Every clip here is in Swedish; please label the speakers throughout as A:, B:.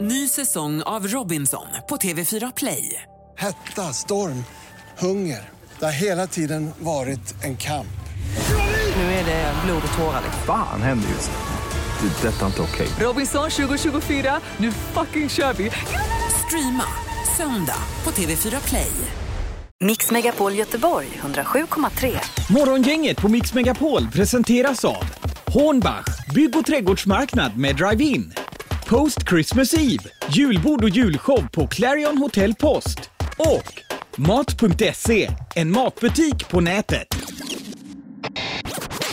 A: Ny säsong av Robinson på TV4 Play.
B: Hetta, storm, hunger. Det har hela tiden varit en kamp.
A: Nu är det blod och tårar. liksom.
C: Fan händer just nu. Det. är Detta är inte okej.
A: Robinson 2024, nu fucking kör vi! Streama söndag på TV4 Play.
D: Mix Megapol Göteborg 107,3.
E: Morgongänget på Mix Megapol presenteras av Hornbach, bygg och trädgårdsmarknad med drive-in. Post Christmas Eve, julbord och julshow på Clarion Hotel Post. Och Mat.se, en matbutik på nätet.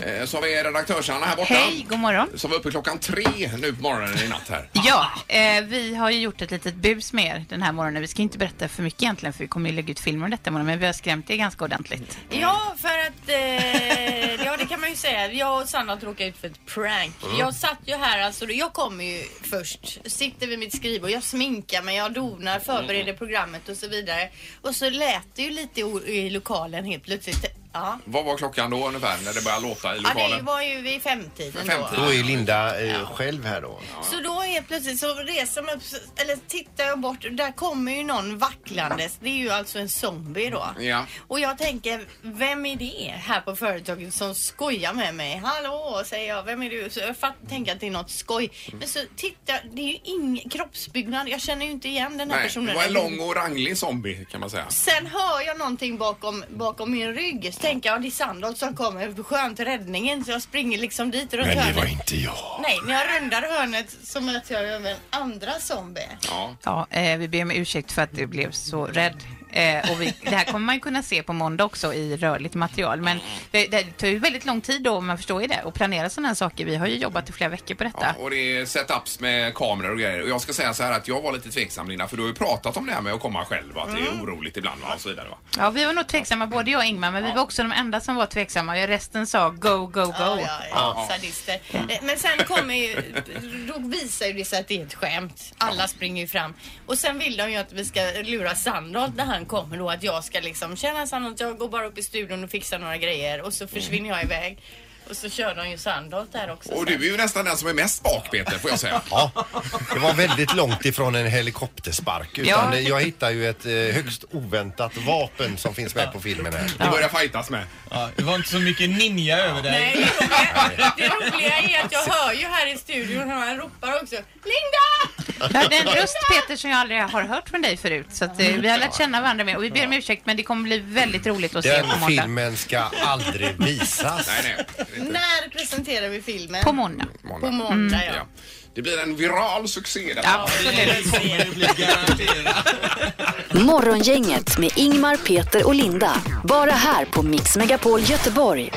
F: Eh, Så har vi redaktörs-Anna här borta.
G: Hej, god morgon.
F: Som var uppe klockan tre nu på morgonen i natt här.
G: Ja, eh, vi har ju gjort ett litet bus med er den här morgonen. Vi ska inte berätta för mycket egentligen för vi kommer ju lägga ut filmer om detta morgon, men vi har skrämt er ganska ordentligt.
H: Ja, för att... Eh, ja, det kan man ju säga. Jag och Sanna råkade ut för ett prank.
G: Mm.
H: Jag satt ju här, alltså, jag kommer ju först, sitter vid mitt skrivbord, jag sminkar mig, jag donar,
G: Mm.
H: förbereder programmet och så vidare. Och så lät det ju lite o- i lokalen helt plötsligt. Ja,
F: Vad var klockan då ungefär när det började låta i
H: ja det
F: lokalen?
H: var ju vid femtiden då.
F: Femtiden.
I: Då är Linda eh, själv här då.
H: Så då helt plötsligt så reser man upp, eller tittar jag bort och där kommer ju någon vacklandes. Det är ju alltså en zombie då.
F: Ja.
H: Och jag tänker, vem är det här på företaget som skojar med mig? Hallå, säger jag, vem är du? Så jag fatt, tänker att det är något skoj. Men så tittar jag, det är ju ingen kroppsbyggnad. Jag känner ju inte igen den här
F: Nej,
H: personen.
F: det var en lång och ranglig zombie kan man säga.
H: Sen hör jag någonting bakom, bakom min rygg. Så tänker jag, det är Sandholt som kommer. Skönt räddningen. Så jag springer liksom dit runt hörnet.
I: inte jag.
H: Nej, när jag rundar hörnet så möter jag även andra zombie.
F: Ja.
G: Ja, eh, vi ber om ursäkt för att du blev så rädd. Eh, och vi, det här kommer man ju kunna se på måndag också i rörligt material. Men det, det tar ju väldigt lång tid då, om man förstår ju det, att planera sådana här saker. Vi har ju jobbat i flera veckor på detta.
F: Ja, och det är setups med kameror och grejer. Och jag ska säga så här att jag var lite tveksam Linda, för du har ju pratat om det här med att komma själv och att det är oroligt ibland va? och så vidare va?
G: Ja, vi var nog tveksamma, både jag och Ingmar, men vi var också de enda som var tveksamma. Resten sa go, go, go.
H: Ja, ja, ja. Sadister. Eh, Men sen kommer ju, då visar ju det sig att det är ett skämt. Alla springer ju fram. Och sen vill de ju att vi ska lura Sandholt när han kommer då att jag ska liksom, tjena Sandholt, jag går bara upp i studion och fixar några grejer och så försvinner jag iväg. Och så kör de ju Sandholt där också.
F: Och
H: sen.
F: du är ju nästan den som är mest bak Peter får jag säga.
I: Ja, det var väldigt långt ifrån en helikopterspark. Utan
G: Ja.
I: eh, Jag hittar ju ett eh, högst oväntat vapen som finns med på filmen här.
F: Du börjar fightas med.
J: Ja, det var inte så mycket ninja över dig.
H: Nej, det roliga, det roliga är att jag hör ju här i studion hur han ropar också. Linda!
G: Jag hörde en röst Peter som jag aldrig har hört från dig förut. Så att, eh, vi har lärt känna varandra mer och vi ber om ursäkt men det kommer bli väldigt roligt att se på
I: Den
G: måndag.
I: filmen ska aldrig visas.
F: Nej, nej. det är inte-
H: När presenterar vi filmen?
G: På måndag. Mm.
H: På
F: Måndag.
H: måndag ja.
F: Ja. Det blir en viral succé detta.
G: Ja,
J: Det
G: absolut.
J: kommer det bli garanterat.
D: Morgongänget med Ingmar, Peter och Linda. Bara här på Mix Megapol Göteborg.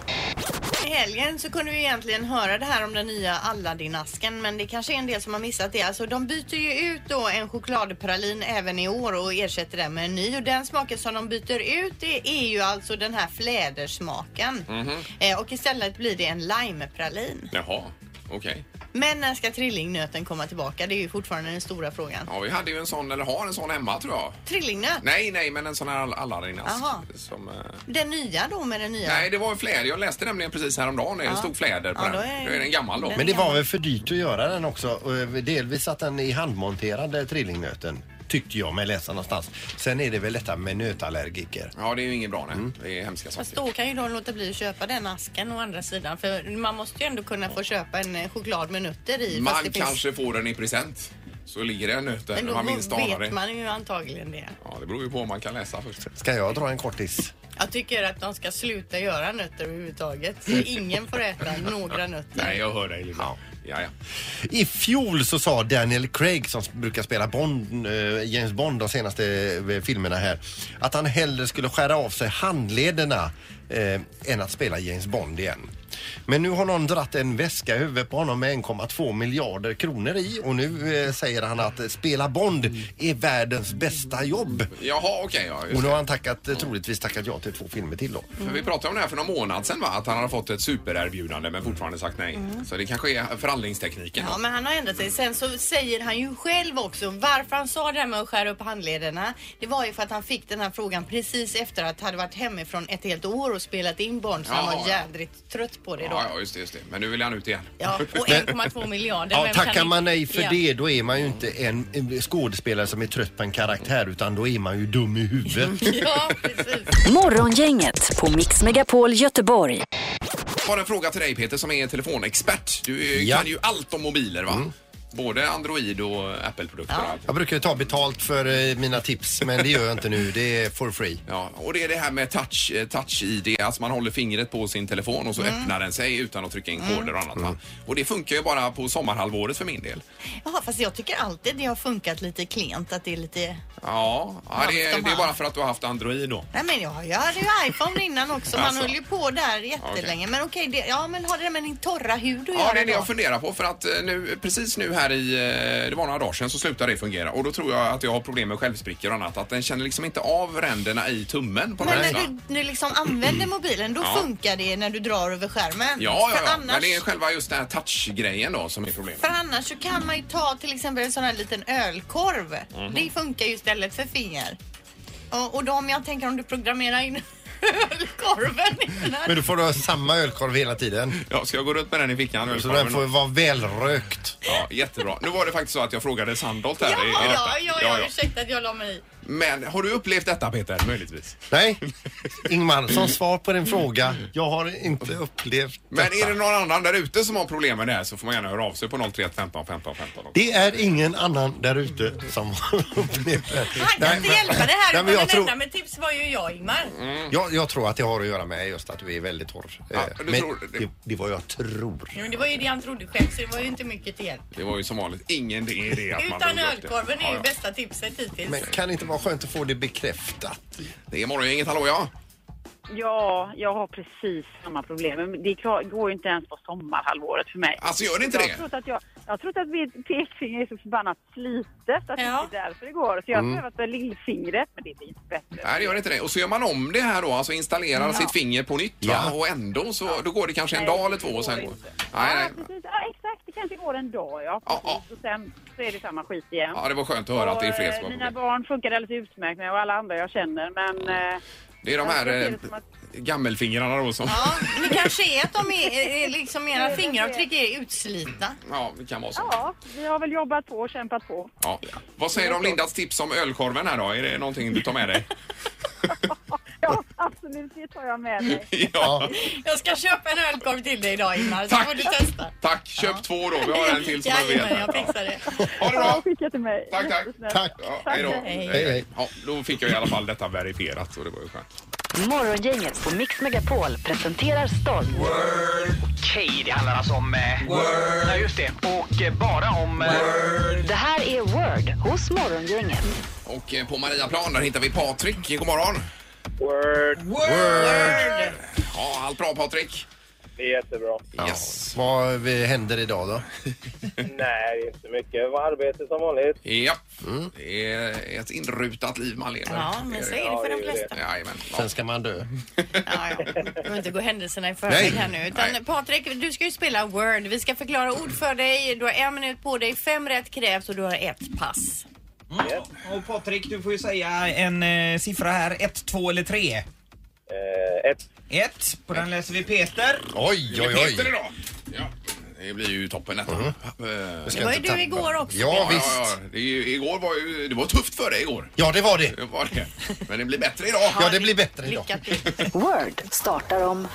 H: I helgen så kunde vi egentligen höra det här om den nya Aladdin-asken men det kanske är en del som har missat det. Alltså de byter ju ut då en chokladpralin även i år och ersätter den med en ny och den smaken som de byter ut det är ju alltså den här flädersmaken. Eh, och istället blir det en limepralin.
F: Jaha, okej.
H: Men när ska trillingnöten komma tillbaka? Det är ju fortfarande den stora frågan.
F: Ja, vi hade ju en sån, eller har en sån hemma tror jag.
H: Trillingnöt?
F: Nej, nej, men en sån här all- Aladdin-ask.
H: Jaha.
F: Som, eh,
H: Den nya då med den nya?
F: Nej, det var en fläder. Jag läste nämligen precis häromdagen. Det stod fläder på
H: Ja,
F: den.
H: då
F: Då
H: är-
F: är... den gammal då.
I: Men det var väl för dyrt att göra den också. Och Delvis att den är handmonterad, eh, trillingnöten. Tyckte jag mig läsa någonstans. Sen är det väl detta med nötallergiker.
F: Ja, det är ju inget bra. Nej. Det är hemska
H: Fast
F: saker.
H: då kan ju de låta bli att köpa den asken å andra sidan. För man måste ju ändå kunna få köpa en eh, choklad med nötter i. fast
F: Man
H: det finns-
F: kanske får den i present. Så ligger det en nöt där
H: Men
F: när
H: då
F: man minst anar
H: vet
F: det.
H: man ju antagligen det.
F: Ja, det beror ju på om man kan läsa först.
I: Ska jag dra en kortis?
H: Jag tycker att de ska sluta göra nötter överhuvudtaget. Så ingen får äta några nötter.
F: Nej, jag hör dig Linda. Ja.
I: Ja.
F: Ja,
I: I fjol så sa Daniel Craig som brukar spela Bond, eh, James Bond de senaste eh, filmerna här att han hellre skulle skära av sig handlederna eh, än att spela James Bond igen. Men nu har någon dratt en väska i huvudet på honom med 1,2 miljarder kronor i och nu eh, säger han att eh, spela Bond är världens bästa jobb.
F: Jaha, okej. ja,
I: Och
F: just
I: nu
F: det.
I: har han tackat, eh, troligtvis tackat ja till två filmer till då.
F: För vi pratade om det här för någon månad sedan va? Att han hade fått ett supererbjudande men fortfarande sagt nej. Så det kanske är förhandlingstekniken.
H: Mm. Ja, men han har ändrat sig. Sen så säger han ju själv också varför han sa det här med att skära upp handlederna. Det var ju för att han fick den här frågan precis efter att han hade varit hemifrån ett helt år och spelat in barn så han
F: Ja,
H: var
F: ja.
H: jädrigt trött skatt på det då.
F: Ja, ja, just det, just det. Men nu vill han ut igen.
H: Ja, och 1,2 miljarder.
I: Ja,
H: Vem kan
I: tackar
H: inte-
I: man nej för
H: Ja.
I: det då är man ju inte en en skådespelare som är trött på en karaktär utan då är man ju dum i huvudet.
H: Ja, precis.
D: Morgongänget på Mix Megapol Göteborg.
F: Bara en fråga till dig Peter som är telefonexpert. Du eh,
I: Ja. Mm.
F: kan ju allt om mobiler va? Både Android och Apple-produkter och allt.
I: Jag brukar ju ta betalt för eh, mina tips men det gör jag inte nu. Det är for free.
F: Ja, och det är det här med touch, eh, touch-id, alltså man håller fingret på sin telefon och så öppnar den sig utan att trycka in koder och annat. Va?
I: Mm.
F: Och det funkar ju bara på sommarhalvåret för min del.
H: Ja, fast jag tycker alltid det har funkat lite klent att det är lite...
F: Ja, ja det,
H: Haft om
F: det är bara
H: hand.
F: för att du har haft Android då.
H: Nej men jag, jag hade ju iPhone innan också. Man
F: Alltså.
H: höll ju på där jättelänge. Men okej, det, ja men har det med din torra hud att
F: Ja,
H: göra
F: det är det
H: då?
F: jag funderar på för att eh, nu, precis nu här i, eh, det var några dagar sedan så slutade det fungera och då tror jag att jag har problem med självsprickor och annat. Att den känner liksom inte av ränderna i tummen på något
H: Men
F: vis,
H: när
F: va?
H: du, du liksom använder mobilen, då
F: Ja.
H: funkar det när du drar över skärmen.
F: Ja, ja,
H: för,
F: ja. men
H: annars,
F: det är själva just den här touch-grejen då som är problemet.
H: för annars så kan man ju ta till exempel en sån här liten ölkorv. Det funkar ju istället för finger. Och, och då om jag tänker om du programmerar in ölkorven i den här
I: Men då får du ha samma ölkorv hela tiden.
F: Ja, ska jag gå runt med den i fickan?
I: Så den får vara välrökt.
F: Ja, jättebra. Nu var det faktiskt så att jag frågade Sandholt här
H: Ja,
F: i, i detta.
H: ja, ja, ja, ursäkta att jag la mig i.
F: Men har du upplevt detta Peter, möjligtvis? Mm.
I: Nej, Ingmar, som svar på din fråga. Jag har inte upplevt
F: Men
I: detta.
F: är det någon annan där ute som har problem med det här så får man gärna höra av sig på 031 15 15 15.
I: Det är ingen annan där ute som har upplevt det.
H: Han kan
I: Nej,
H: inte
I: men-
H: hjälpa det här.
I: Nej,
H: utan
I: men jag,
H: Den
I: tror,
H: enda med tips var ju jag, Ingmar.
I: jag, jag tror att det har att göra med just att du är väldigt torr.
F: Ja,
I: Eh,
F: du
I: men
F: tror det.
I: det, det var jag tror.
H: Jo, men det var ju det han trodde själv, så det var ju inte mycket till hjälp.
F: Det var ju som vanligt ingen idé att man
H: Utan
F: drog upp det.
H: ölkorven är
F: Ja,
H: ju
F: ja.
H: bästa tipset hittills.
I: Men kan det inte vara skönt att få det bekräftat?
F: Det är morgongänget, hallå ja.
K: Ja, jag har precis samma problem. Men det klar- går ju inte ens på sommarhalvåret för mig.
F: Alltså gör det inte
K: Jag har
F: det?
K: trott att, jag, jag har trott att mitt pekfinger är så förbannat slitet att
H: Ja.
K: det är därför det går. Så jag har prövat med lillfingret, men det blir inte bättre.
F: Mm. Nej, det gör inte det. Och så gör man om det här då, alltså installerar sitt finger på nytt va?
I: Ja.
F: och ändå så då går det kanske en dag eller två och sen går... Nej,
K: ja,
F: nej.
K: Precis, ja, exakt. Det kanske går en dag, ja.
F: Ja, ja.
K: Precis. Och sen så är det samma skit igen.
F: Ja, det var skönt att höra att det är fler som
K: Och,
F: har
K: eh, Mina
F: problem.
K: barn funkar alldeles utmärkt med och alla andra jag känner. Men eh,
F: Det är de
K: jag
F: här
K: ser det
F: eh,
K: som att-
F: gammelfingrarna då som...
H: Ja, men det kanske är att de är, är liksom era fingeravtryck är utslitna.
F: Ja, det kan vara så.
K: ja, vi har väl jobbat på och kämpat på.
F: Ja. Vad säger du om Lindas tips om ölkorven här då? Är det någonting du tar med dig?
K: Ja, absolut. Det tar jag med mig.
F: Ja.
H: Jag ska köpa en ölkorv till dig idag Ingmar, så
F: Tack.
H: får du testa.
F: Tack! Köp två då. Vi har en till som vi
H: Jajamän,
F: vet.
H: jag fixar det.
F: Ha det
K: Ja,
F: bra!
K: skicka till mig.
F: Tack, tack.
K: Jättesnällt.
I: Tack.
F: Ja, hej då.
H: Hej.
I: Hej, hej.
F: Ja, då fick jag i alla fall detta verifierat så det var ju skönt.
D: Morgongänget på Mix Megapol presenterar stolt.
A: Okej, det handlar alltså om... Eh, Word. Ja, just det. Och eh, bara om... Eh,
D: Det här är Word hos Morgongänget.
F: Och eh, på Mariaplan där hittar vi Patrik. God morgon!
I: Word.
F: Ja, allt bra Patrik?
J: Det är jättebra.
F: Yes.
I: Vad eh, händer idag då?
J: Nej, inte mycket. Arbete som vanligt.
F: Ja. Det är ett inrutat liv man lever.
H: Ja, men så är det för de flesta.
F: Jajamän. Ja.
I: Sen ska man dö.
H: Ja, ja. Du behöver inte gå händelserna i förväg
I: Nej.
H: här nu. Utan
F: Nej.
H: Patrik, du ska ju spela Word. Vi ska förklara ord för dig. Du har en minut på dig. Fem rätt krävs och du har ett pass.
J: Och Patrik, du får ju säga en eh, siffra här. Ett, två eller tre. Eh, ett. Ett. På den läser vi Peter.
I: Oj,
F: Det
I: oj,
F: är Peter
I: oj.
F: idag! Ja. Det blir ju toppen detta. Eh,
I: Jag ska
H: Det var ju
I: inte
H: du
I: tappa.
H: igår också.
I: Ja,
F: Ja, ja,
I: visst.
F: ja. Det, är ju- igår var ju, det var tufft för dig igår.
I: Ja, det var det.
F: Det var det. Men det blir bättre idag.
I: Ja, det blir bättre idag.
H: Lycka till.
D: Word startar om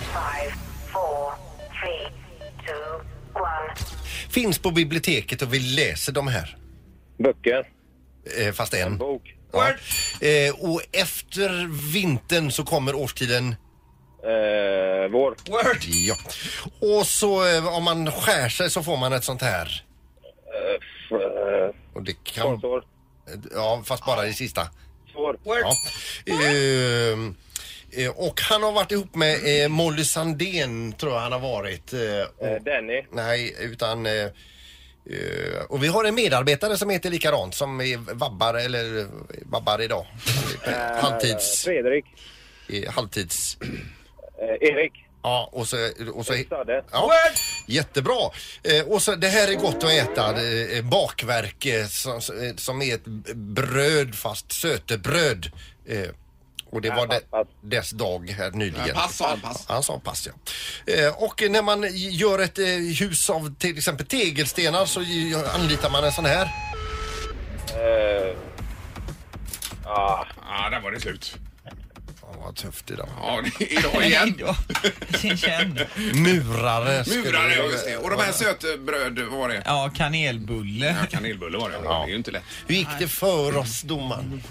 I: Finns på biblioteket och vi läser de här.
J: Böcker.
I: Eh, Fast en.
J: Bok.
I: Ja. Eh, Och efter vintern så kommer årstiden
J: vår. Word.
I: Ja. Och så eh, om man skär sig så får man ett sånt här.
J: Eh,
I: Och det kan... Ja, fast bara i sista.
J: Svår.
I: Ja. Ehm, eh, och han har varit ihop med eh, Molly Sandén tror jag han har varit. eh, och,
J: Danny.
I: nej, utan... eh, eh, och vi har en medarbetare som heter likadant som är vabbar eller eh, vabbar idag. Halvtids...
J: Eh, Fredrik. Eh,
I: eh, Halvtids...
J: Erik.
I: Ja, och så... Och så
J: Sade.
I: Ja, jättebra. Eh, och så, det här är gott att äta. Eh, bakverk eh, som, som är ett bröd fast sötebröd. Eh, Och det var de, dess dag här nyligen.
F: Ja, pass, sa han, pass.
I: Han sa pass, ja. Eh, Och när man gör ett eh, hus av till exempel tegelstenar så ju- anlitar man en sån här.
F: Ja, ah, där var det slut.
I: Fan, vad tufft idag.
F: Ja, det- idag igen.
I: Murare. skulle
F: Murare,
I: det-
F: ja, just det. Och de här sötbröd, vad var det?
J: Ja, kanelbulle.
F: Ja, kanelbulle var det. Det är ju inte lätt.
I: Hur gick det för oss domaren?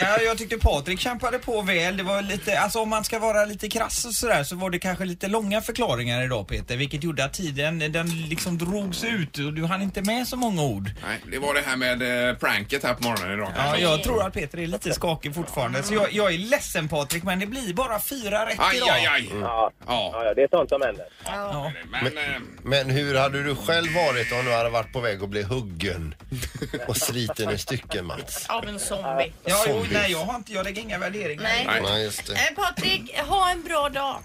J: Ja, jag tyckte Patrik kämpade på väl. Det var lite, alltså om man ska vara lite krass och sådär så var det kanske lite långa förklaringar idag Peter, vilket gjorde att tiden den liksom drogs ut och du hann inte med så många ord.
F: Nej, det var det här med eh, pranket här på morgonen idag.
J: Ja, jag tror att Peter är lite skakig fortfarande så jag, jag är ledsen Patrik men det blir bara fyra rätt
F: Aj,
J: idag.
F: aj, aj. Mm. Ja, ja.
L: Det är sånt som händer.
J: Ja.
F: Men, eh,
I: Men hur hade du själv varit om du hade varit på väg att bli huggen och sliten i stycken Mats?
H: Av en zombie.
J: Ja, jo,
I: Zombies.
J: nej, jag, har inte, jag lägger inga värderingar.
H: Nej.
I: Nej, just det.
H: Eh, Patrik, ha en bra dag.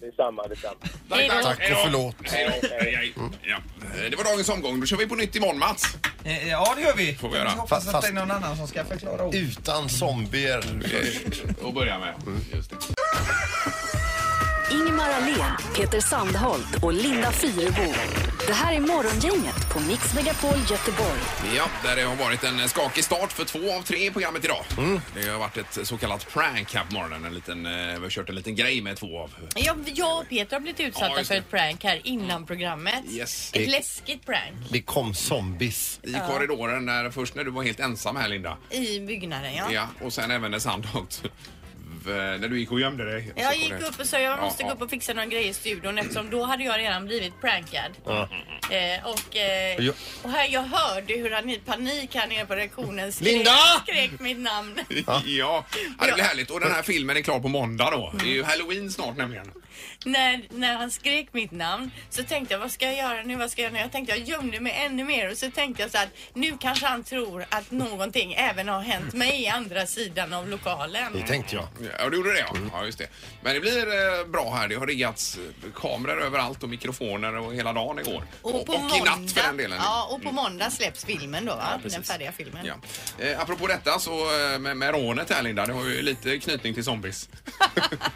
L: Detsamma, detsamma.
H: Hej då.
I: Tack och förlåt. Mm.
F: hej då. Aj, aj. Ja. Eh, Det var dagens omgång. Då kör vi på nytt imorgon, Mats.
J: Eh, Ja, det gör vi.
F: Får vi göra.
J: Jag hoppas
I: Fast-
J: att det är
I: fast-
J: någon annan som ska förklara ord.
I: Utan zombier först.
F: Eh, Och börja med.
I: Mm.
F: Just det.
D: Ingemar Ahlén, Peter Sandholt och Linda Fyrebo. Det här är Morgongänget på Mix Megapol Göteborg.
F: Ja, där det har varit en eh, skakig start för två av tre i programmet idag.
I: Mm.
F: Det har varit ett så kallat prank här på morgonen. En liten, eh, vi har kört en liten grej med två av...
H: Jag, jag och Peter har blivit
F: Ja,
H: utsatta
F: just
H: för
F: det.
H: ett prank här innan programmet.
F: Yes.
H: Ett läskigt prank
I: Det kom zombies.
F: I korridoren, när, först när du var helt ensam här Linda.
H: i byggnaden. Ja.
F: Ja, och sen även när Sandholt... När du gick och gömde dig.
H: Jag gick upp och sa jag
F: Ja,
H: måste
F: ja.
H: gå upp och fixa några grejer i studion eftersom då hade jag redan blivit prankad. Eh, och, eh,
I: Jag-
H: och här, jag hörde hur han i panik här nere på reaktionen skrek,
I: Linda!
H: skrek mitt namn.
F: Ja, ja det blir härligt. Och den här filmen är klar på måndag då. Det är
H: Mm.
F: ju halloween snart nämligen.
H: när, när han skrek mitt namn så tänkte jag vad ska jag göra nu, vad ska jag göra nu? Jag tänkte jag gömde mig ännu mer och så tänkte jag så att nu kanske han tror att någonting även har hänt mig i andra sidan av
I: Det
H: lokalen.
I: tänkte jag.
F: Ja, du gjorde det ja.
H: Mm.
F: ja just det. Men det blir eh, bra här. Det har riggats eh, kameror överallt och mikrofoner och hela dagen igår. i natt för den delen.
H: Ja, och på måndag släpps filmen då, va?
F: precis.
H: den färdiga filmen.
F: Ja. Eh, apropå detta så eh, med, med rånet här Linda, det har ju lite knytning till zombies.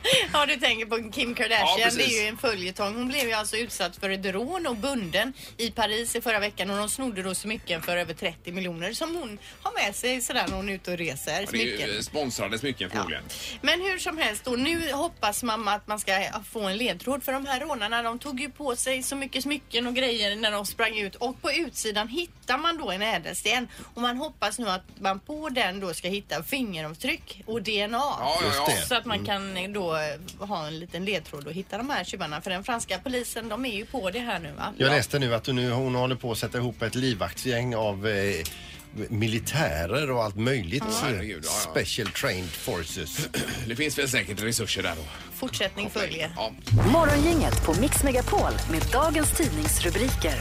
H: Ja, du tänker på Kim
F: Ja,
H: Kardashian.
F: precis.
H: det är ju en följetong. Hon blev ju alltså utsatt för ett rån och bunden i Paris i förra veckan och de snodde då smycken för över 30 miljoner som hon har med sig sådär när hon är ute och reser.
F: Det är
H: Smycken.
F: ju eh, sponsrade smycken förmodligen.
H: Men hur som helst då, nu hoppas mamma att man ska få en ledtråd för de här rånarna de tog ju på sig så mycket smycken och grejer när de sprang ut och på utsidan hittar man då en ädelsten och man hoppas nu att man på den då ska hitta fingeravtryck och DNA.
F: Ja, ja, ja.
I: Just Mm.
H: Så att man kan eh, då ha en liten ledtråd och hitta de här tjuvarna för den franska polisen de är ju på det här nu va?
I: Jag läste nu att nu, hon håller på att sätta ihop ett livvaktsgäng av eh, militärer och allt möjligt.
F: herregud, ja, ja.
I: Special trained forces.
F: Det finns väl säkert resurser där då.
H: Fortsättning följer.
F: Ja.
D: Morgongänget på Mix Megapol med dagens tidningsrubriker.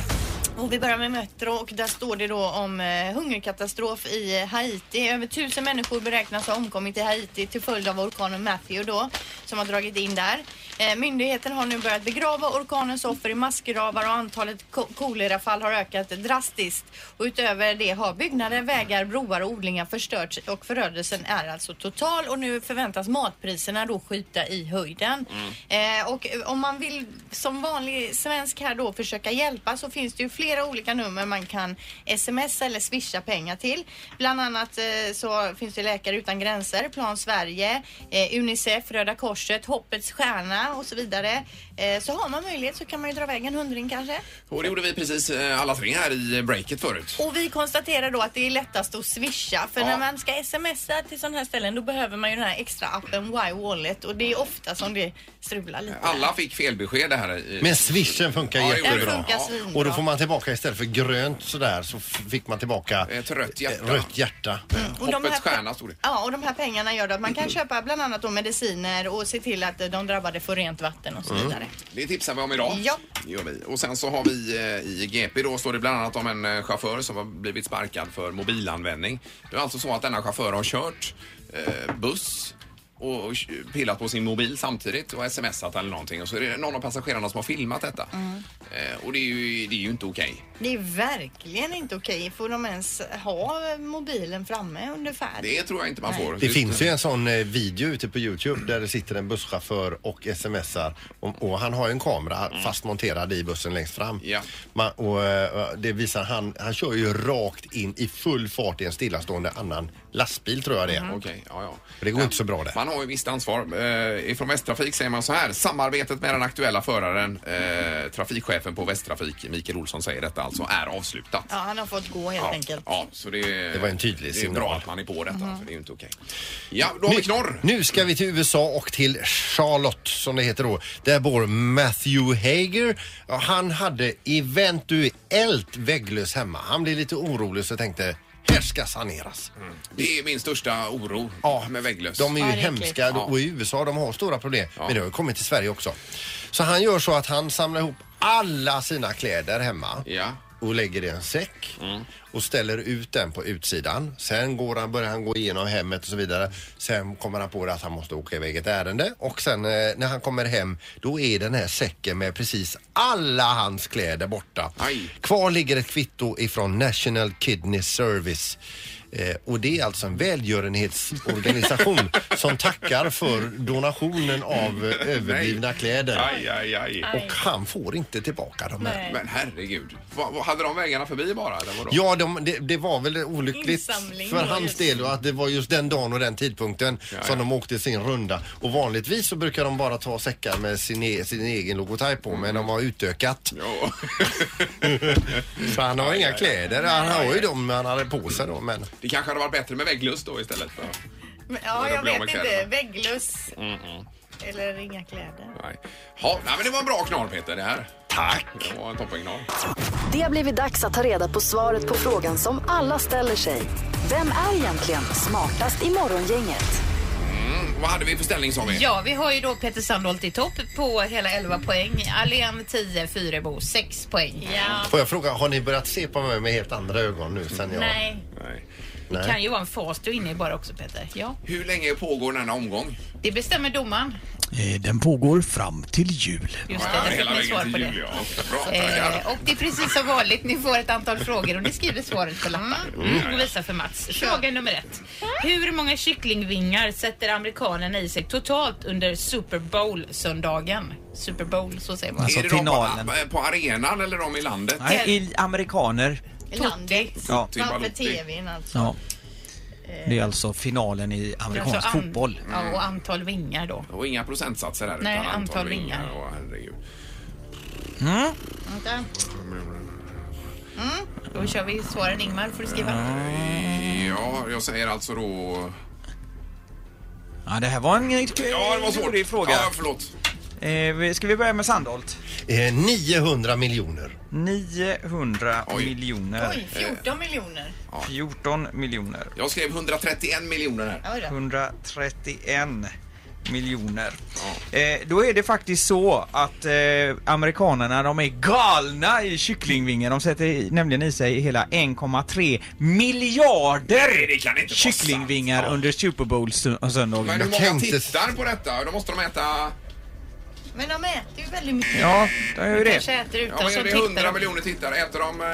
H: Och vi börjar med Metro och där står det då om eh, hungerkatastrof i eh, Haiti. Över tusen människor beräknas ha omkommit i Haiti till följd av orkanen Matthew då, som har dragit in där. Eh, myndigheten har nu börjat begrava orkanens offer i massgravar och antalet ko- kolerafall har ökat drastiskt. Och utöver det har byggnader, vägar, broar och odlingar förstörts och förödelsen är alltså total och nu förväntas matpriserna då skjuta i höjden. Eh, och om man vill som vanlig svensk här då försöka hjälpa så finns det ju flera olika nummer man kan sms eller swisha pengar till. Bland annat eh, så finns det Läkare utan gränser, Plan Sverige, eh, Unicef, Röda Korset, Hoppets Stjärna och så vidare. Eh, så har man möjlighet så kan man ju dra iväg en hundring kanske.
F: Och det gjorde vi precis eh, alla tre här i breaket förut.
H: Och vi konstaterar då att det är lättast att swisha för
F: Ja.
H: när man ska smsa till sådana här ställen då behöver man ju den här extra appen Y-Wallet och det är ofta som det strular lite.
F: Alla fick felbesked här. I...
I: Men swishen funkar
F: Ja, det gjorde
H: Den
I: jättebra.
H: funkar
F: Ja.
H: svinbra.
I: Och då får man tillbaka istället för grönt sådär så f- fick man tillbaka
F: Ett rött hjärta.
I: eh, rött hjärta.
H: Och de
F: Hoppets
H: här-
F: stjärna stod det.
H: Ja, och de här pengarna gör då att man kan köpa bland annat då mediciner och se till att de drabbade får rent vatten och så
F: Mm.
H: vidare.
F: Det tipsar vi om idag.
H: Ja.
F: Det gör vi. Och sen så har vi eh, i GP då står det bland annat om en eh, chaufför som har blivit sparkad för mobilanvändning. Det är alltså så att denna chaufför har kört eh, buss och och pillat på sin mobil samtidigt och smsat eller någonting och så är det någon av passagerarna som har filmat detta. Eh, Och det är ju, det är ju inte okej.
H: Det är verkligen inte okej. Får de ens ha mobilen framme under färd?
F: Det tror jag inte man får.
I: Det finns ju en sån eh, video ute på Youtube där det sitter en busschaufför och smsar och, och han har ju en kamera fast monterad i bussen längst fram. Man, och, eh, det visar han, han kör ju rakt in i full fart i en stillastående annan lastbil tror jag det är.
F: Mhm. Okej, ja, ja.
I: Det går inte så bra där.
F: Man har ju visst ansvar. Eh, ifrån Västtrafik säger man så här. Samarbetet med den aktuella föraren, eh, trafikchefen på Västtrafik, Mikael Olsson säger detta alltså, är avslutat.
H: Ja, han har fått gå helt enkelt. Mm.
F: Ja, så det,
I: Det var en tydlig
F: Det är bra
I: signal.
F: att man är på detta, för det är ju inte okej. Ja, då har vi knorr.
I: Nu ska vi till USA och till Charlotte som det heter då. Där bor Matthew Hager. Ja, Han hade eventuellt vägglöss hemma. Han blev lite orolig så tänkte här ska saneras.
F: Det är min största oro med vägglöss.
I: De är ju
F: Ja, det är
I: hemska
F: äckligt.
I: och i USA de har stora problem. Men det har ju kommit till Sverige också. Så han gör så att han samlar ihop alla sina kläder hemma. Och lägger i en säck och ställer ut den på utsidan. Sen går han, börjar han gå igenom hemmet och så vidare. Sen kommer han på det att han måste åka iväg ett ärende och sen eh, när han kommer hem då är den här säcken med precis alla hans kläder borta. Kvar ligger ett kvitto ifrån National Kidney Service. Eh, och det är alltså en välgörenhetsorganisation som tackar för donationen av eh, överblivna kläder.
F: Aj, aj, aj.
I: Och han får inte tillbaka dem här.
F: Men herregud. Vad, vad, hade de vägarna förbi bara? Eller vadå?
I: Ja, de, det, det var väl olyckligt
F: Insamling
I: för
F: var
I: hans
F: just-
I: del och att det var just den dagen och den tidpunkten som de åkte sin runda. Och vanligtvis så brukar de bara ta säckar med sin, e, sin egen logotyp på, men de har utökat.
J: Mm.
I: så han har
F: Aj, aj,
I: inga
F: aj.
I: kläder. Han har ju dem han hade på sig då, men...
F: Det kanske hade varit bättre med vägglöss då istället. För...
H: Men, ja,
F: Men då
H: jag
F: blir de
H: vet
F: med
H: inte.
F: kläderna.
H: Vägglöss
F: Mm-mm.
H: eller inga kläder.
F: Nej. Ja, nej, men det var en bra knorr Peter det här. Tack! Det var en toppenknorr.
D: Det har blivit dags att ta reda på svaret på frågan som alla ställer sig. Vem är egentligen smartast i morgongänget?
F: Mm, vad hade vi för ställning sa vi?
G: Ja, vi har ju då Peter Sandholt i topp på hela 11 poäng. Allén 10, Fyrebo 6 poäng. Ja.
I: Får jag fråga, har ni börjat se på mig med helt andra ögon nu sen jag...
G: Nej.
F: Nej.
G: Det kan ju vara en fas du är inne i bara också Peter. Ja.
F: Hur länge pågår denna omgång?
G: Det bestämmer domaren.
E: Eh, Den pågår fram till jul.
G: Just det, där fick ni svar på det.
F: ja. Bra,
G: Eh, och det är precis som vanligt, ni får ett antal frågor och ni skriver svaret på lappar
F: Mm.
G: och visar för Mats. Fråga nummer ett. Hur många kycklingvingar sätter amerikanerna i sig totalt under Super Bowl-söndagen? Super Bowl, så säger man.
F: är det
J: Alltså, finalen.
F: de på, på arenan eller de i landet? Typ
J: Nej, i amerikaner.
G: Landet.
J: Ja.
I: Typ
H: Framför tvn alltså.
J: Ja. Det är alltså finalen i amerikansk
G: Alltså an-
J: fotboll.
G: Ja, och antal vingar då.
F: Och inga procentsatser där
G: Nej,
F: utan
G: antal vingar.
F: Åh, herregud.
J: Mm.
G: Vänta. Mm. Då kör vi svaren Ingmar får du skriva.
F: Mm. Ja, jag säger alltså då...
J: Ja, det här var en eh,
F: Ja, det var
J: lurig
F: svårt.
J: fråga.
F: Ja, förlåt.
J: Eh, vi- ska vi börja med Sandholt?
I: 900 Eh, miljoner.
J: 900 miljoner.
H: Oj, 14 miljoner.
J: 14 miljoner.
F: Jag skrev 131 miljoner här.
H: Oj då.
J: 131 miljoner. Eh, då är det faktiskt så att eh, amerikanerna de är galna i kycklingvingar. De sätter i, nämligen i sig hela 1,3 miljarder
F: Nej, det kan inte vara
J: kycklingvingar under Super Bowl sö- söndagen.
F: Men hur många tittar på detta? Då måste de äta...
H: Men de äter ju väldigt mycket.
J: Ja, det är ju det.
H: Kanske äter utan
F: Ja, men
H: så
F: är det
H: tittar
F: 100
H: de.
F: miljoner tittare? Äter de eh,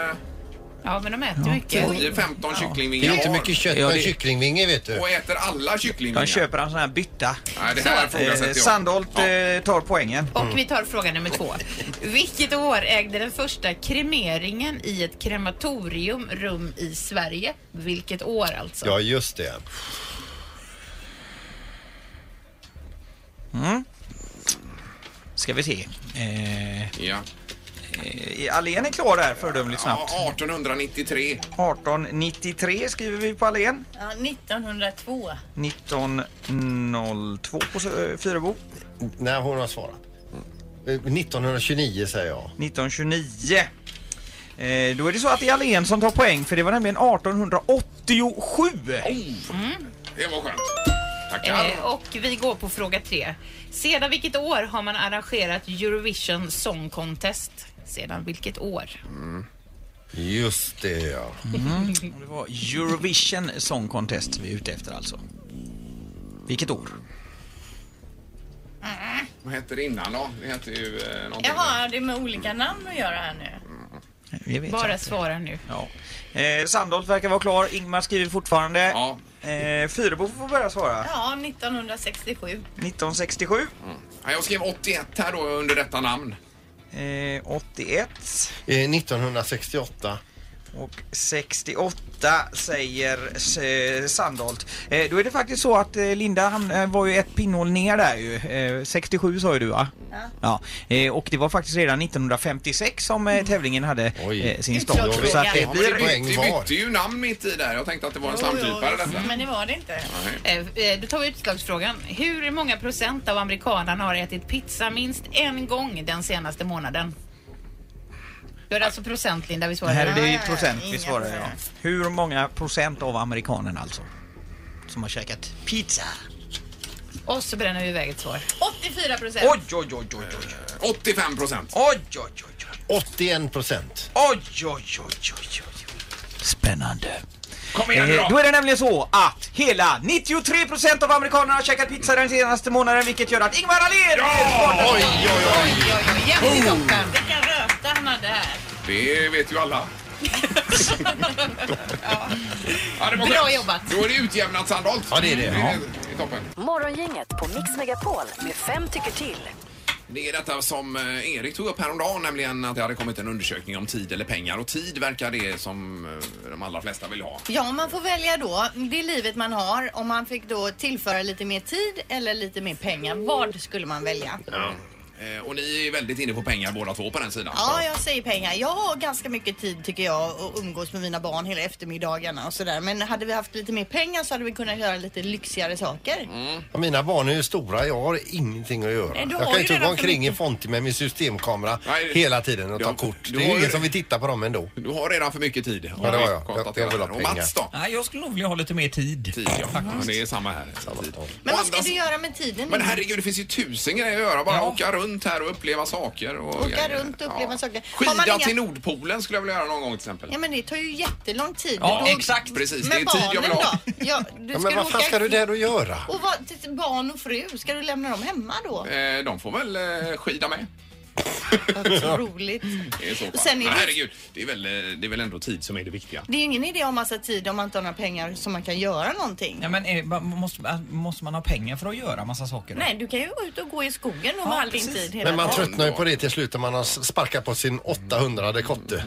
G: Ja, men de äter mycket.
F: 10-15
I: Det
F: kycklingvingar
I: är inte
F: var?
I: mycket kött
J: Ja,
I: på en
J: det-
I: kycklingvinge vet du.
F: Och äter alla kycklingvingar?
J: De köper en sån här bytta.
F: Nej, det här ifrågasätter
J: eh,
F: jag.
J: Sandholt eh, tar poängen.
G: Och vi tar fråga nummer två. Vilket år ägde den första kremeringen i ett krematorium rum i Sverige? Vilket år alltså?
I: Ja, just det.
J: Mm. Ska vi se. Eh,
F: ja.
J: eh, Allén är klar där föredömligt snabbt.
F: Ja, 1893.
J: 1893 skriver vi på Allén.
H: Ja, 1902.
J: 1902 på Sö- Fyrebo.
I: Nej, hon har svarat. Eh, 1929 säger jag.
J: 1929. Eh, då är det så att det är Allén som tar poäng för det var nämligen 1887.
F: Det var skönt.
G: Eh, och vi går på fråga tre. Sedan vilket år har man arrangerat Eurovision Song Contest? Sedan vilket år?
I: Just det ja.
J: Mm. Det var Eurovision Song Contest vi är ute efter alltså. Vilket år?
F: Vad hette det innan då? Det hette ju eh, någonting.
I: Jaha, har det med olika namn att göra här nu?
J: Vi vet
I: Bara
J: inte.
I: svara nu.
J: Ja. Eh, Sandholt verkar vara klar. Ingmar skriver fortfarande. Ja. Eh, Fyrebo får börja svara.
I: Ja, 1967.
J: 1967.
F: Ja, jag skrev 81 här då under detta namn.
J: Eh, 81.
E: Eh, 1968.
J: Och 68 säger eh, Sandholt. Eh, då är det faktiskt så att eh, Linda hamn, eh, var ju ett pinnhål ner där ju. Eh, 67 sa ju du va? Ja. Eh, och det var faktiskt redan 1956 som eh, tävlingen hade eh, sin start. Så att det blir...
F: Vi bytte ju namn mitt i där. Jag tänkte att det var en slamkrypare detta.
M: men det var det inte.
F: Nej.
M: Eh, eh, Då tar vi utslagsfrågan. Hur många procent av amerikanerna har ätit pizza minst en gång den senaste månaden? Då är det alltså procent, Linda, vi svarar.
J: Här är det ju procent vi svarar ja. Hur många procent av amerikanerna alltså? Som har käkat pizza?
M: Och så bränner vi iväg ett svar.
I: 84 procent.
J: Oj, oj, oj, oj, oj.
F: 85 procent.
J: Oj, oj, oj.
E: 81 procent.
J: Oj, oj, oj, oj, oj. Spännande.
F: Kom
E: igen nu
J: Eh,
E: då.
J: Då är det nämligen så att hela 93% av amerikanerna har käkat pizza den senaste månaden vilket gör att Ingmar Ahlén ja!
F: Oj,
E: oj, oj!
I: Oj, oj, oj, jämnt i toppen. Vilken röta han hade här.
F: Det vet ju alla. Ja, det var
D: Bra
F: skönt.
D: jobbat.
F: Då är det utjämnat Sandholt. Ja, det är det. Det är toppen.
D: Morgongänget på Mix Megapol med fem tycker till.
F: Det är detta som eh, Erik tog upp häromdagen, nämligen att det hade kommit en undersökning om tid eller pengar. Och tid verkar det som eh, de allra flesta vill ha.
I: Ja, man får välja då det livet man har. Om man fick då tillföra lite mer tid eller lite mer pengar. Vad skulle man välja?
F: Ja. Eh, Och ni är väldigt inne på pengar båda två på den sidan.
I: Ja, jag säger pengar. Jag har ganska mycket tid tycker jag att umgås med mina barn hela eftermiddagarna och sådär. Men hade vi haft lite mer pengar så hade vi kunnat göra lite lyxigare saker.
E: Ja, Mina barn är ju stora, jag har ingenting att göra.
I: Nej, du har
E: jag kan
I: ju
E: inte gå
I: redan för
E: omkring i
I: mycket.
E: Fonti med min systemkamera
F: Nej,
E: hela tiden och ta
F: du-
E: kort. Det är
F: du har
E: ju
F: ju-
E: ingen som vill titta på dem ändå.
F: Du har redan för mycket tid.
E: Ja, det har jag.
F: Konstaterat
E: Jag- jag vill ha
F: här. Och Mats då?
J: Nej, jag skulle nog vilja ha lite mer tid.
F: Tid, ja. Ja, Det är samma här. Tid.
I: Men
F: Å
I: vad ska
F: andra
I: du göra med tiden?
F: Men
I: nu?
F: herregud, det finns ju tusen grejer att göra. Bara åka runt här och uppleva saker. Och
I: Åka
F: grejer.
I: runt och uppleva
F: Ja.
I: saker. Har man
F: Skida
I: inga-
F: till Nordpolen skulle jag vilja göra någon gång till exempel.
I: Ja men det tar ju jättelång tid.
F: Ja,
I: Då-
F: exakt. Precis,
I: Men
F: det är tid jag vill
I: barnen
F: ha.
I: då? Ja, du
F: Ja, men
I: ska
F: vad fan
I: åka-
F: ska du där och göra?
I: Och vad, till barn och fru, ska du lämna dem hemma då?
F: Eh, de får väl eh, skida med.
I: Otroligt.
F: Det är så
I: Och
F: fall.
I: sen är
F: Men
I: det-
F: herregud, det är, väl, eh, det är väl ändå tid som är det viktiga.
I: Det är ju ingen idé att ha massa tid om man inte har några pengar som man kan göra någonting.
J: Ja, men eh, ma- måste, eh, måste man ha pengar för att göra massa saker? då?
I: Nej, du kan ju gå ut och gå i skogen och ha all din tid hela
E: Men man
I: dagen.
E: tröttnar ju på det till slut när man har sparkat på sin 800 kotte.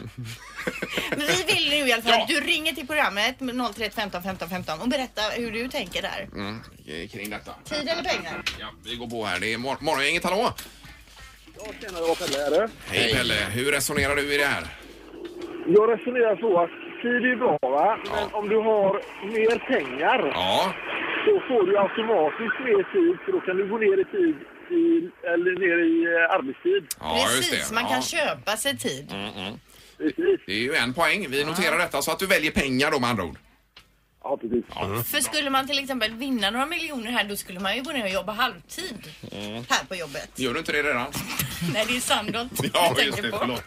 I: Men vi vill nu i alla fall att du ringer till programmet 031 15 15 15 och berätta hur du tänker där.
F: Mm, eh, kring detta.
I: Tid eller pengar?
F: Ja, vi går på här. Det är mor- Morgongänget, hallå!
N: Tjena, det var Pelle här. du.
F: Hej Pelle, hur resonerar du i det här?
N: Jag resonerar så att tid är bra, va? men om du har mer pengar
F: Ja.
N: så får du automatiskt mer tid för då kan du gå ner i tid i, eller ner i eh, arbetstid.
I: Precis, man kan köpa sig tid.
F: Mm, mm. Det är ju en poäng. Vi noterar detta så att du väljer pengar då med andra ord.
N: Ja, precis.
I: För skulle man till exempel vinna några miljoner här då skulle man ju gå ner och jobba halvtid
F: Mm.
I: här på jobbet.
F: Gör du inte det redan?
I: Nej, det är Sandholt
F: Ja,
I: jag
F: just
I: tänker
F: det.
I: på.
F: Förlåt.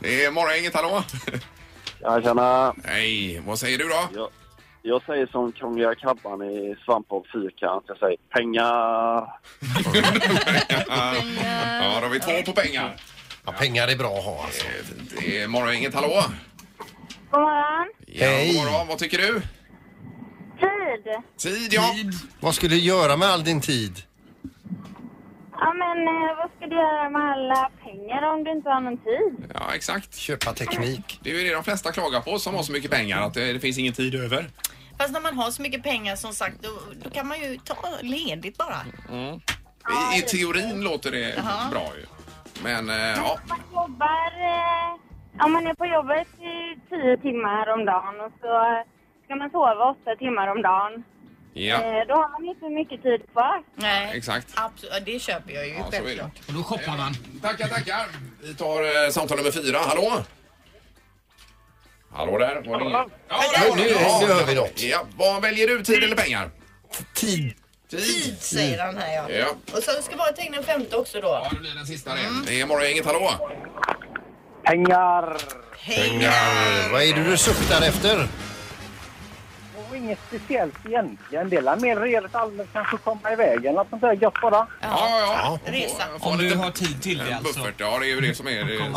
F: Det är Morgongänget, hallå!
N: Ja, tjena.
F: Hej, vad säger du då?
N: Jag, jag säger som Kungliga Krabban i Svamp och fyrkant. Jag säger pengar.
F: Ja, då har vi två på pengar.
E: Ja, pengar är bra att ha alltså.
F: Det är Morgongänget, hallå!
H: God morgon.
F: Ja, Hej! vad tycker du?
H: Tid.
F: Tid, ja.
E: Vad skulle du göra med all din tid?
H: Ja, men eh, vad ska du göra med alla pengar om du inte har någon tid?
F: Ja, exakt.
E: Köpa teknik.
F: Det är ju det de flesta klagar på som har så mycket pengar, att det, det finns ingen tid över.
I: Fast när man har så mycket pengar som sagt då, då kan man ju ta ledigt bara.
F: Mm. I, I teorin låter det
H: Jaha.
F: bra ju. Men eh, ja,
H: Man jobbar... Eh, om man är på jobbet i tio timmar om dagen och så ska man sova åtta timmar om dagen.
F: ja
H: Eh, då har man inte mycket tid kvar.
I: Nej,
F: exakt.
I: absolut. Det köper jag ju
F: Ja, så är det.
I: självklart.
J: Och då shoppar man.
F: Tackar, tackar. Vi tar eh, samtal nummer fyra. Hallå? Hallå där. Var det ingen? Ja,
E: Nu- nu- nu hör vi något.
F: Ja, vad väljer du? Tid eller pengar?
E: Tid.
I: Tid säger han här ja.
F: Ja.
I: Och så ska bara ta in den femte också då. Ja,
F: det blir den sista det. Det är Morgongänget, hallå?
N: Pengar.
E: Vad är det du suktar efter? var inget speciellt egentligen. Det är mer rejält allmänt kanske komma iväg eller något sånt där gött bara.
F: Ja, ja.
I: Resa.
J: Om du har tid till det alltså.
F: Buffert, ja det är ju det som är...
I: Men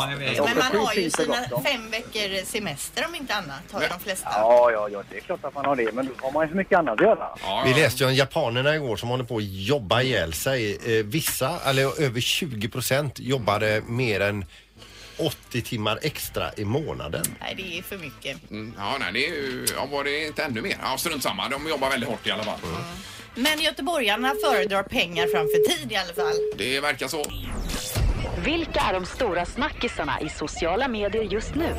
I: man har ju sina fem veckor semester om inte annat, har ju de flesta.
E: Ja, ja, ja, det är klart att man har det. Men då har man ju så mycket annat att göra.
O: Vi läste ju om japanerna igår som håller på att jobba ihjäl sig. Eh, Vissa, eller över 20 procent, jobbade mer än 80 timmar extra i månaden.
I: Nej, det är för mycket.
F: Mm, ja, nej, det är ju... Ja, var det inte ännu mer? Ja, strunt samma. De jobbar väldigt hårt i alla fall.
I: Men göteborgarna föredrar pengar framför tid i alla fall.
F: Det verkar så.
D: Vilka är de stora snackisarna i sociala medier just nu?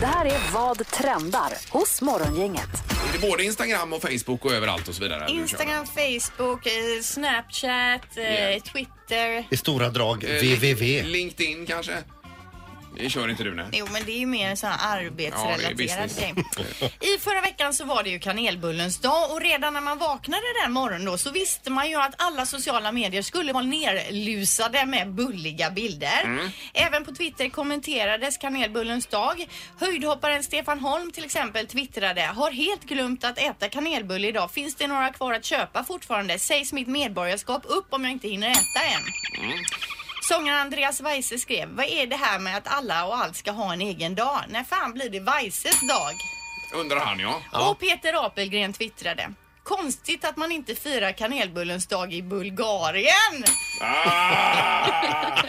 D: Det här är Vad trendar hos Morgongänget.
F: Det är både Instagram och Facebook och överallt och så vidare.
I: Instagram, Facebook, eh, Snapchat, eh, Twitter.
O: I stora drag,
F: Eh,
O: www.
F: LinkedIn kanske? Det kör inte du, nej.
I: Jo, men det är ju mer en sån här arbetsrelaterad grej. I förra veckan så var det ju kanelbullens dag och redan när man vaknade den morgonen då så visste man ju att alla sociala medier skulle vara nerlusade med bulliga bilder.
P: Mm.
I: Även på Twitter kommenterades kanelbullens dag. Höjdhopparen Stefan Holm till exempel twittrade “Har helt glömt att äta kanelbulle idag. Finns det några kvar att köpa fortfarande? Sägs mitt medborgarskap upp om jag inte hinner äta än?” Sångaren Andreas Weise skrev, vad är det här med att alla och allt ska ha en egen dag? När fan blir det Weises dag?
F: Undrar han, ja.
I: Och Peter Apelgren twittrade, konstigt att man inte firar kanelbullens dag i Bulgarien.
F: Ah!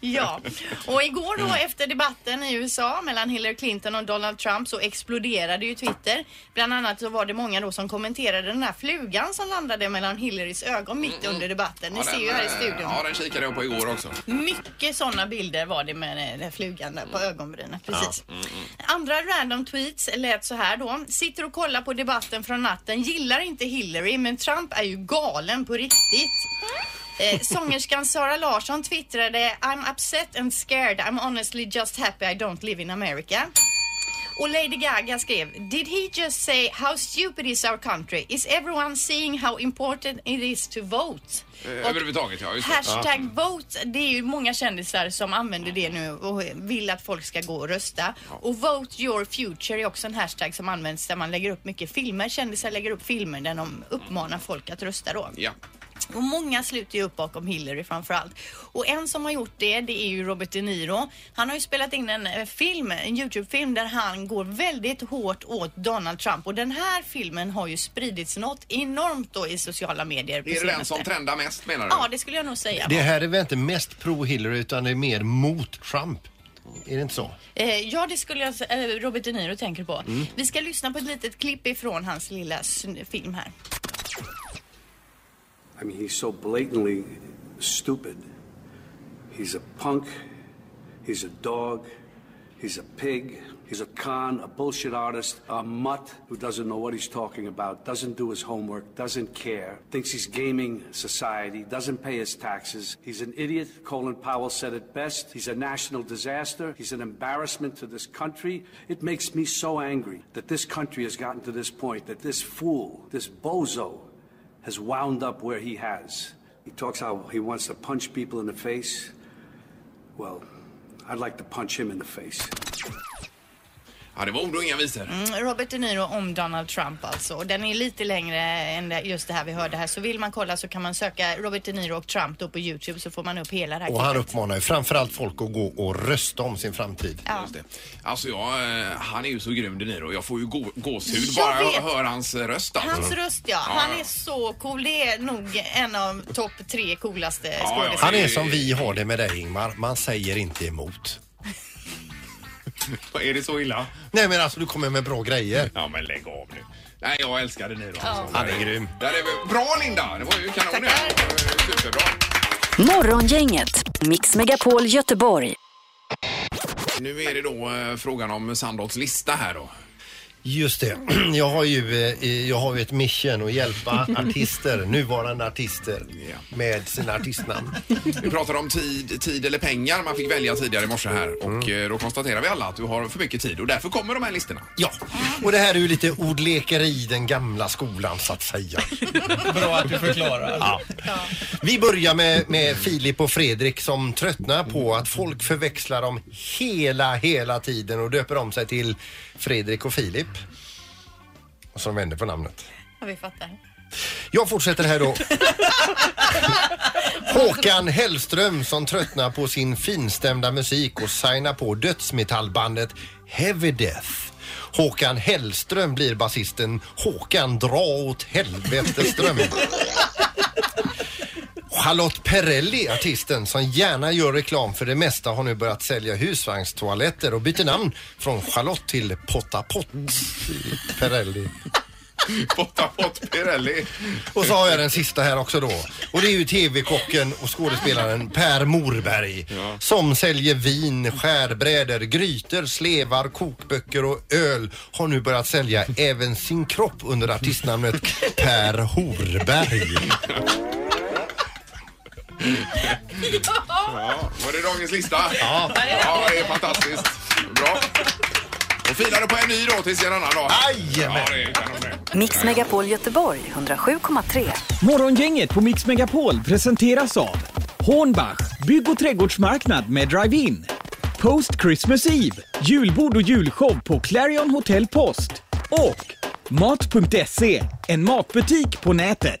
I: Ja, och igår då efter debatten i USA mellan Hillary Clinton och Donald Trump så exploderade ju Twitter. Bland annat så var det många då som kommenterade den här flugan som landade mellan Hillarys ögon mitt under debatten. Ni
F: Mm, Ja,
I: ser ju
F: den,
I: här i
F: eh,
I: studion.
F: Ja, den kikade jag på igår också.
I: Mycket sådana bilder var det med den där flugan där på ögonbrynet. Precis.
F: Mm. Ja. Mm, mm.
I: Andra random tweets lät så här då. Sitter och kollar på debatten från natten. Gillar inte Hillary men Trump är ju galen på riktigt. Eh, sångerskan Sara Larsson twittrade I'm upset and scared. I'm honestly just happy I don't live in America. Och Lady Gaga skrev Did he just say how stupid is our country? Is everyone seeing how important it is to vote?
F: Eh, Överhuvudtaget, ja. Just det.
I: Hashtag vote, det är ju många kändisar som använder det nu och vill att folk ska gå och rösta. Och vote your future är också en hashtag som används där man lägger upp mycket filmer. Kändisar lägger upp filmer där de uppmanar folk att rösta då.
F: Ja.
I: Och många sluter ju upp bakom Hillary framförallt. Och en som har gjort det, det är ju Robert De Niro. Han har ju spelat in en eh, film, en Youtube-film där han går väldigt hårt åt Donald Trump. Och den här filmen har ju spridits något enormt då i sociala medier. på
F: Är det den
I: senaste.
F: som trendar mest, menar du?
I: Ja, det skulle jag nog säga.
O: Det här är väl inte mest pro Hillary utan det är mer mot Trump. Är det inte så?
I: Eh, ja, det skulle jag eh, Robert De Niro tänker på.
O: Mm.
I: Vi ska lyssna på ett litet klipp ifrån hans lilla sn- film här.
H: I mean, he's so blatantly stupid. He's a punk. He's a dog. He's a pig. He's a con, a bullshit artist, a mutt who doesn't know what he's talking about, doesn't do his homework, doesn't care, thinks he's gaming society, doesn't pay his taxes. He's an idiot. Colin Powell said it best. He's a national disaster. He's an embarrassment to this country. It makes me so angry that this country has gotten to this point, that this fool, this bozo, has wound up where he has. He talks how he wants to punch people in the face. Well, I'd like to punch him in the face.
F: Ja, det var ord och inga visor.
I: Mm, Robert De Niro om Donald Trump alltså. Och Den är lite längre än det- just det här vi hörde här. Så vill man kolla så kan man söka Robert De Niro och Trump då på Youtube så får man upp hela det här
O: Och han
I: klippet.
O: uppmanar ju framförallt folk att gå och rösta om sin framtid.
I: Ja.
F: Alltså, jag, eh, han är ju så grym, De Niro. Jag får ju gå, gåshud
I: Jag
F: bara jag
I: vet.
F: hör hans eh, röst. alltså.
I: Hans
O: Mm.
I: röst ja.
F: Ja,
I: Han
F: ja.
I: är så cool. Det är nog en av topp tre coolaste skådespelarna.
O: Han är som vi har det med dig Ingmar, man säger inte emot.
F: är det så illa?
O: Nej men alltså du kommer med bra grejer.
F: Ja men lägg av nu. Nej, jag älskar De Niro. Alltså.
O: Han är grym.
F: Där är vi. Bra, Linda! Det var ju kanon. det här. Det var ju Superbra.
D: Morgongänget, Mix Megapol Göteborg.
F: Nu är det då eh, frågan om Sandholts lista här då.
O: Just det. Jag har ju, eh, jag har ju ett mission att hjälpa artister, nuvarande artister med sina artistnamn.
F: Vi pratade om tid, tid eller pengar. Man fick välja tidigare i morse här och
O: Mm.
F: eh, då konstaterar vi alla att du har för mycket tid och därför kommer de här listorna.
O: Ja, och det här är ju lite ordlekeri den gamla skolan så att säga.
J: Bra att du förklarar.
O: Ja. Vi börjar med, med Filip och Fredrik som tröttnar på att folk förväxlar dem hela, hela tiden och döper om sig till Fredrik och Filip.
H: Och så de vänder på namnet.
I: Ja, vi fattar.
H: Jag fortsätter här då. Håkan Hellström som tröttnar på sin finstämda musik och signar på dödsmetallbandet Heavy Death. Håkan Hellström blir basisten Håkan Dra åt helveteström. Charlotte Perrelli, artisten som gärna gör reklam för det mesta, har nu börjat sälja husvagnstoaletter och byter namn från Charlotte till Potta Pott Perrelli.
F: Potta Pott Pirelli.
H: Och så har jag den sista här också då. Och det är ju TV-kocken och skådespelaren Per Morberg. Som säljer vin, skärbrädor, grytor, slevar, kokböcker och öl. Har nu börjat sälja även sin kropp under artistnamnet Per Horberg.
F: Ja, var det dagens lista?
H: Ja.
F: ja det är fantastiskt. Bra. Och filade på en ny då tills en annan dag.
H: Jajamän.
F: Ja, det är kanon det.
Q: Mix Megapol Göteborg 107,3.
E: Morgongänget på Mix Megapol presenteras av Hornbach, bygg och trädgårdsmarknad med drive-in. Post Christmas Eve, julbord och julshow på Clarion Hotel Post. Och Mat.se, en matbutik på nätet.